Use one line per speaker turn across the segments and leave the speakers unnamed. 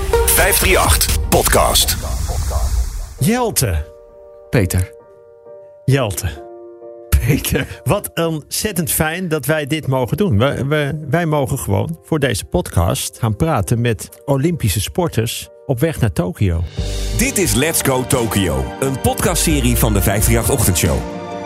538 Podcast.
Jelte.
Peter.
Jelte.
Peter.
Wat ontzettend fijn dat wij dit mogen doen. We, we- wij mogen gewoon voor deze podcast gaan praten met Olympische sporters op weg naar Tokio.
Dit is Let's Go Tokyo, een podcastserie van de 538-ochtendshow.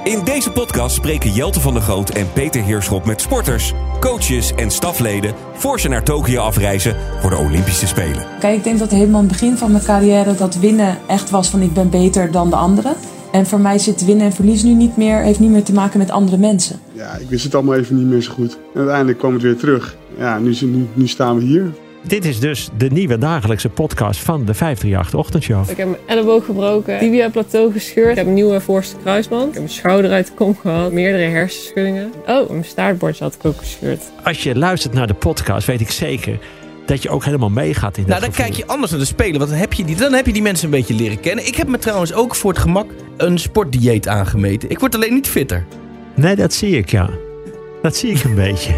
In deze podcast spreken Jelte van der Groot en Peter Heerschop met sporters, coaches en stafleden voor ze naar Tokio afreizen voor de Olympische Spelen.
Kijk, ik denk dat helemaal aan het begin van mijn carrière dat winnen echt was van ik ben beter dan de anderen. En voor mij zit winnen en verlies nu niet meer, heeft niet meer te maken met andere mensen.
Ja, ik wist het allemaal even niet meer zo goed. En uiteindelijk kwam het weer terug. Ja, nu, zit- nu, nu staan we hier.
Dit is dus de nieuwe dagelijkse podcast van de 538 Ochtendshow.
Ik heb mijn elleboog gebroken, tibia plateau gescheurd. Ik heb een nieuwe voorste kruisband. Ik heb mijn schouder uit de kom gehad. Meerdere hersenschuddingen. Oh, mijn staartbord had ik ook gescheurd.
Als je luistert naar de podcast, weet ik zeker dat je ook helemaal meegaat in dat
Nou, dan
gevoel.
kijk je anders naar de spelen. Want dan heb, je die, dan heb je die mensen een beetje leren kennen. Ik heb me trouwens ook voor het gemak een sportdieet aangemeten. Ik word alleen niet fitter.
Nee, dat zie ik, ja. Dat zie ik een beetje.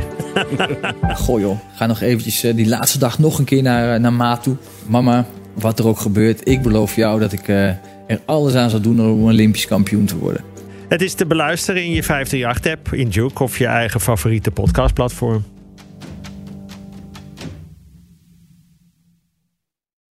Nou, Goh joh, ga nog eventjes eh, die laatste dag nog een keer naar, eh, naar Ma toe. Mama, wat er ook gebeurt, ik beloof jou dat ik eh, er alles aan zal doen om Olympisch kampioen te worden.
Het is te beluisteren in je 538-app, in Juke of je eigen favoriete podcastplatform.